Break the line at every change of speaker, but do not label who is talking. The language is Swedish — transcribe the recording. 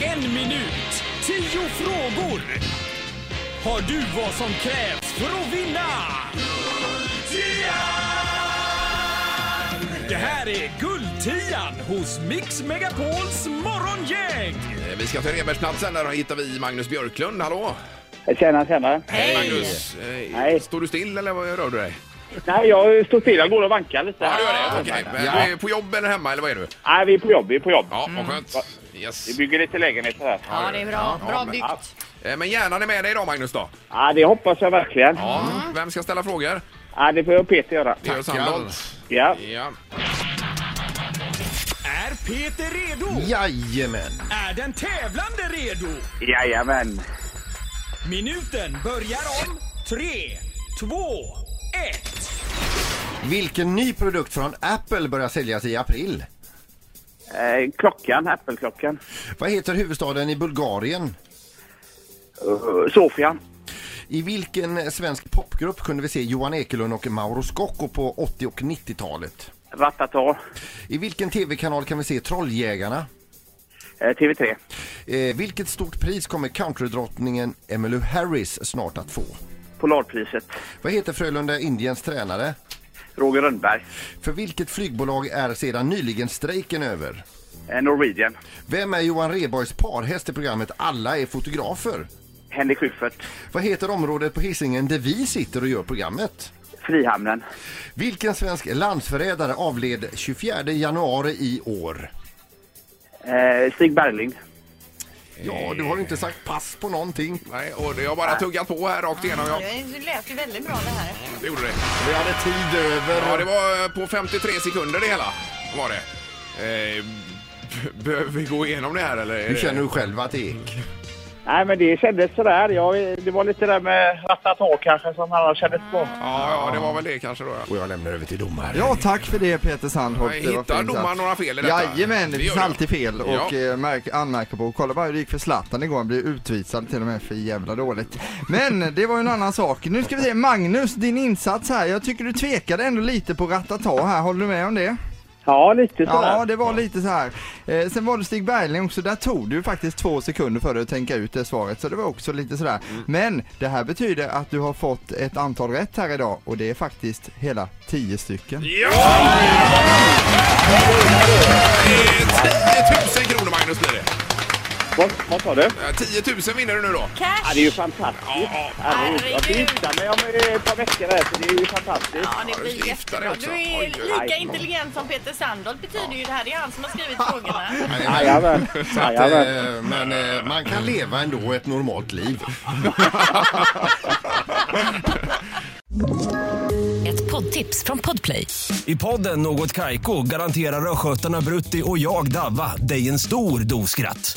En minut, tio frågor. Har du vad som krävs för att vinna? Det här är Guldtian hos Mix Megapols morgongäng.
Eh, Vi ska till Rebergsplatsen, där hittar vi Magnus Björklund. Hallå!
Tjena, tjena.
Hej Magnus! Eh,
Hej.
Står du still eller vad rör du dig?
Nej, jag står still. Jag går och vankar lite.
Ja, Mm. du gör det? Okej. Men Du är på jobb eller hemma eller vad är du?
Nej, vi är på jobb. Vi är på jobb.
Ja, vad skönt. Yes.
Vi bygger lite lägenheter här.
Ja, det är bra. Bra byggt.
Eh, Men hjärnan är med dig idag Magnus då?
Ja, det hoppas jag verkligen. Ja.
Ja. Vem ska ställa frågor?
det får jag och Peter göra.
Mm. Tackar. Sandholt.
Ja.
Ja.
Är Peter redo?
Jajamän!
Är den tävlande redo?
Jajamän.
Minuten börjar om tre, två, ett.
Vilken ny produkt från Apple börjar säljas i april?
Eh, klockan, Apple-klockan.
Vad heter huvudstaden i Bulgarien?
Uh, Sofia.
I vilken svensk popgrupp kunde vi se Johan Ekelund och Mauro Scocco på 80 och 90-talet?
Ratata.
I vilken tv-kanal kan vi se Trolljägarna?
Eh, TV3.
Eh, vilket stort pris kommer countrydrottningen Emmylou Harris snart att få?
Polarpriset.
Vad heter Frölunda Indiens tränare?
Roger Rönnberg.
För vilket flygbolag är sedan nyligen strejken över?
Eh, Norwegian.
Vem är Johan Rheborgs parhäst i programmet Alla är fotografer?
Henrik Schyffert.
Vad heter området på Hisingen där vi sitter och gör programmet?
Frihamnen.
Vilken svensk landsförrädare avled 24 januari i år?
Eh, Stig Bergling.
Ja, du har inte sagt pass på någonting.
Nej, och det har bara tuggat på här rakt igenom. Ja,
Det lät ju väldigt bra det här.
det gjorde det.
Vi hade tid över.
Ja, det var eh, på 53 sekunder det hela. Var det. Eh, b- Behöver vi gå igenom det här eller? är
Hur
det-
känner du själv att det gick?
Nej, men det kändes sådär. Ja, eh, det var lite där med Ratata kanske som han kändes på.
Ja, ja, det var väl det kanske då. ja.
Och jag lämnar över till domaren.
Ja, tack för det Peter Sandholt.
Nej,
Det var
hittar
fint
domaren
att-
några fel i detta?
Jajamän,
Det
det
gör
finns
det.
alltid fel och
Ja.
eh, märk, anmärka på. Kolla bara hur det gick för Zlatan igår, han blev utvisad till och med för jävla dåligt. Men det var ju en annan sak. Nu ska vi se, Magnus, din insats här. Jag tycker du tvekade ändå lite på Ratata här, håller du med om det?
Ja, lite sådär.
Ja, det var lite så här. Eh, sen var det Stig Bergling också, där tog du faktiskt två sekunder för dig att tänka ut det svaret, så det var också lite sådär.
Mm.
Men det här betyder att du har fått ett antal rätt här idag och det är faktiskt hela tio stycken.
Ja! Det är 10 000 Eh, kronor Magnus blir det.
Vad, vad sa du?
Eh, 10 000 vinner du nu då.
Ja,
Cash!
det är ju fantastiskt.
Ja, ja.
Herregud. Jag ska gifta mig om eh, ett par veckor här, så det är ju fantastiskt.
Ja, det
du ska
blir
gifta dig
jättebra.
också.
Du
Oj,
är
oj,
lika intelligent som Peter Sandholt betyder ju det här. Det är han som har skrivit frågorna.
Jajamän. Jajamän.
Eh, Men eh, man kan leva ändå ett normalt liv.
Ett poddtips från Podplay.
I podden Något Kaiko garanterar östgötarna Brutti och jag, Davva, dig en stor dos skratt.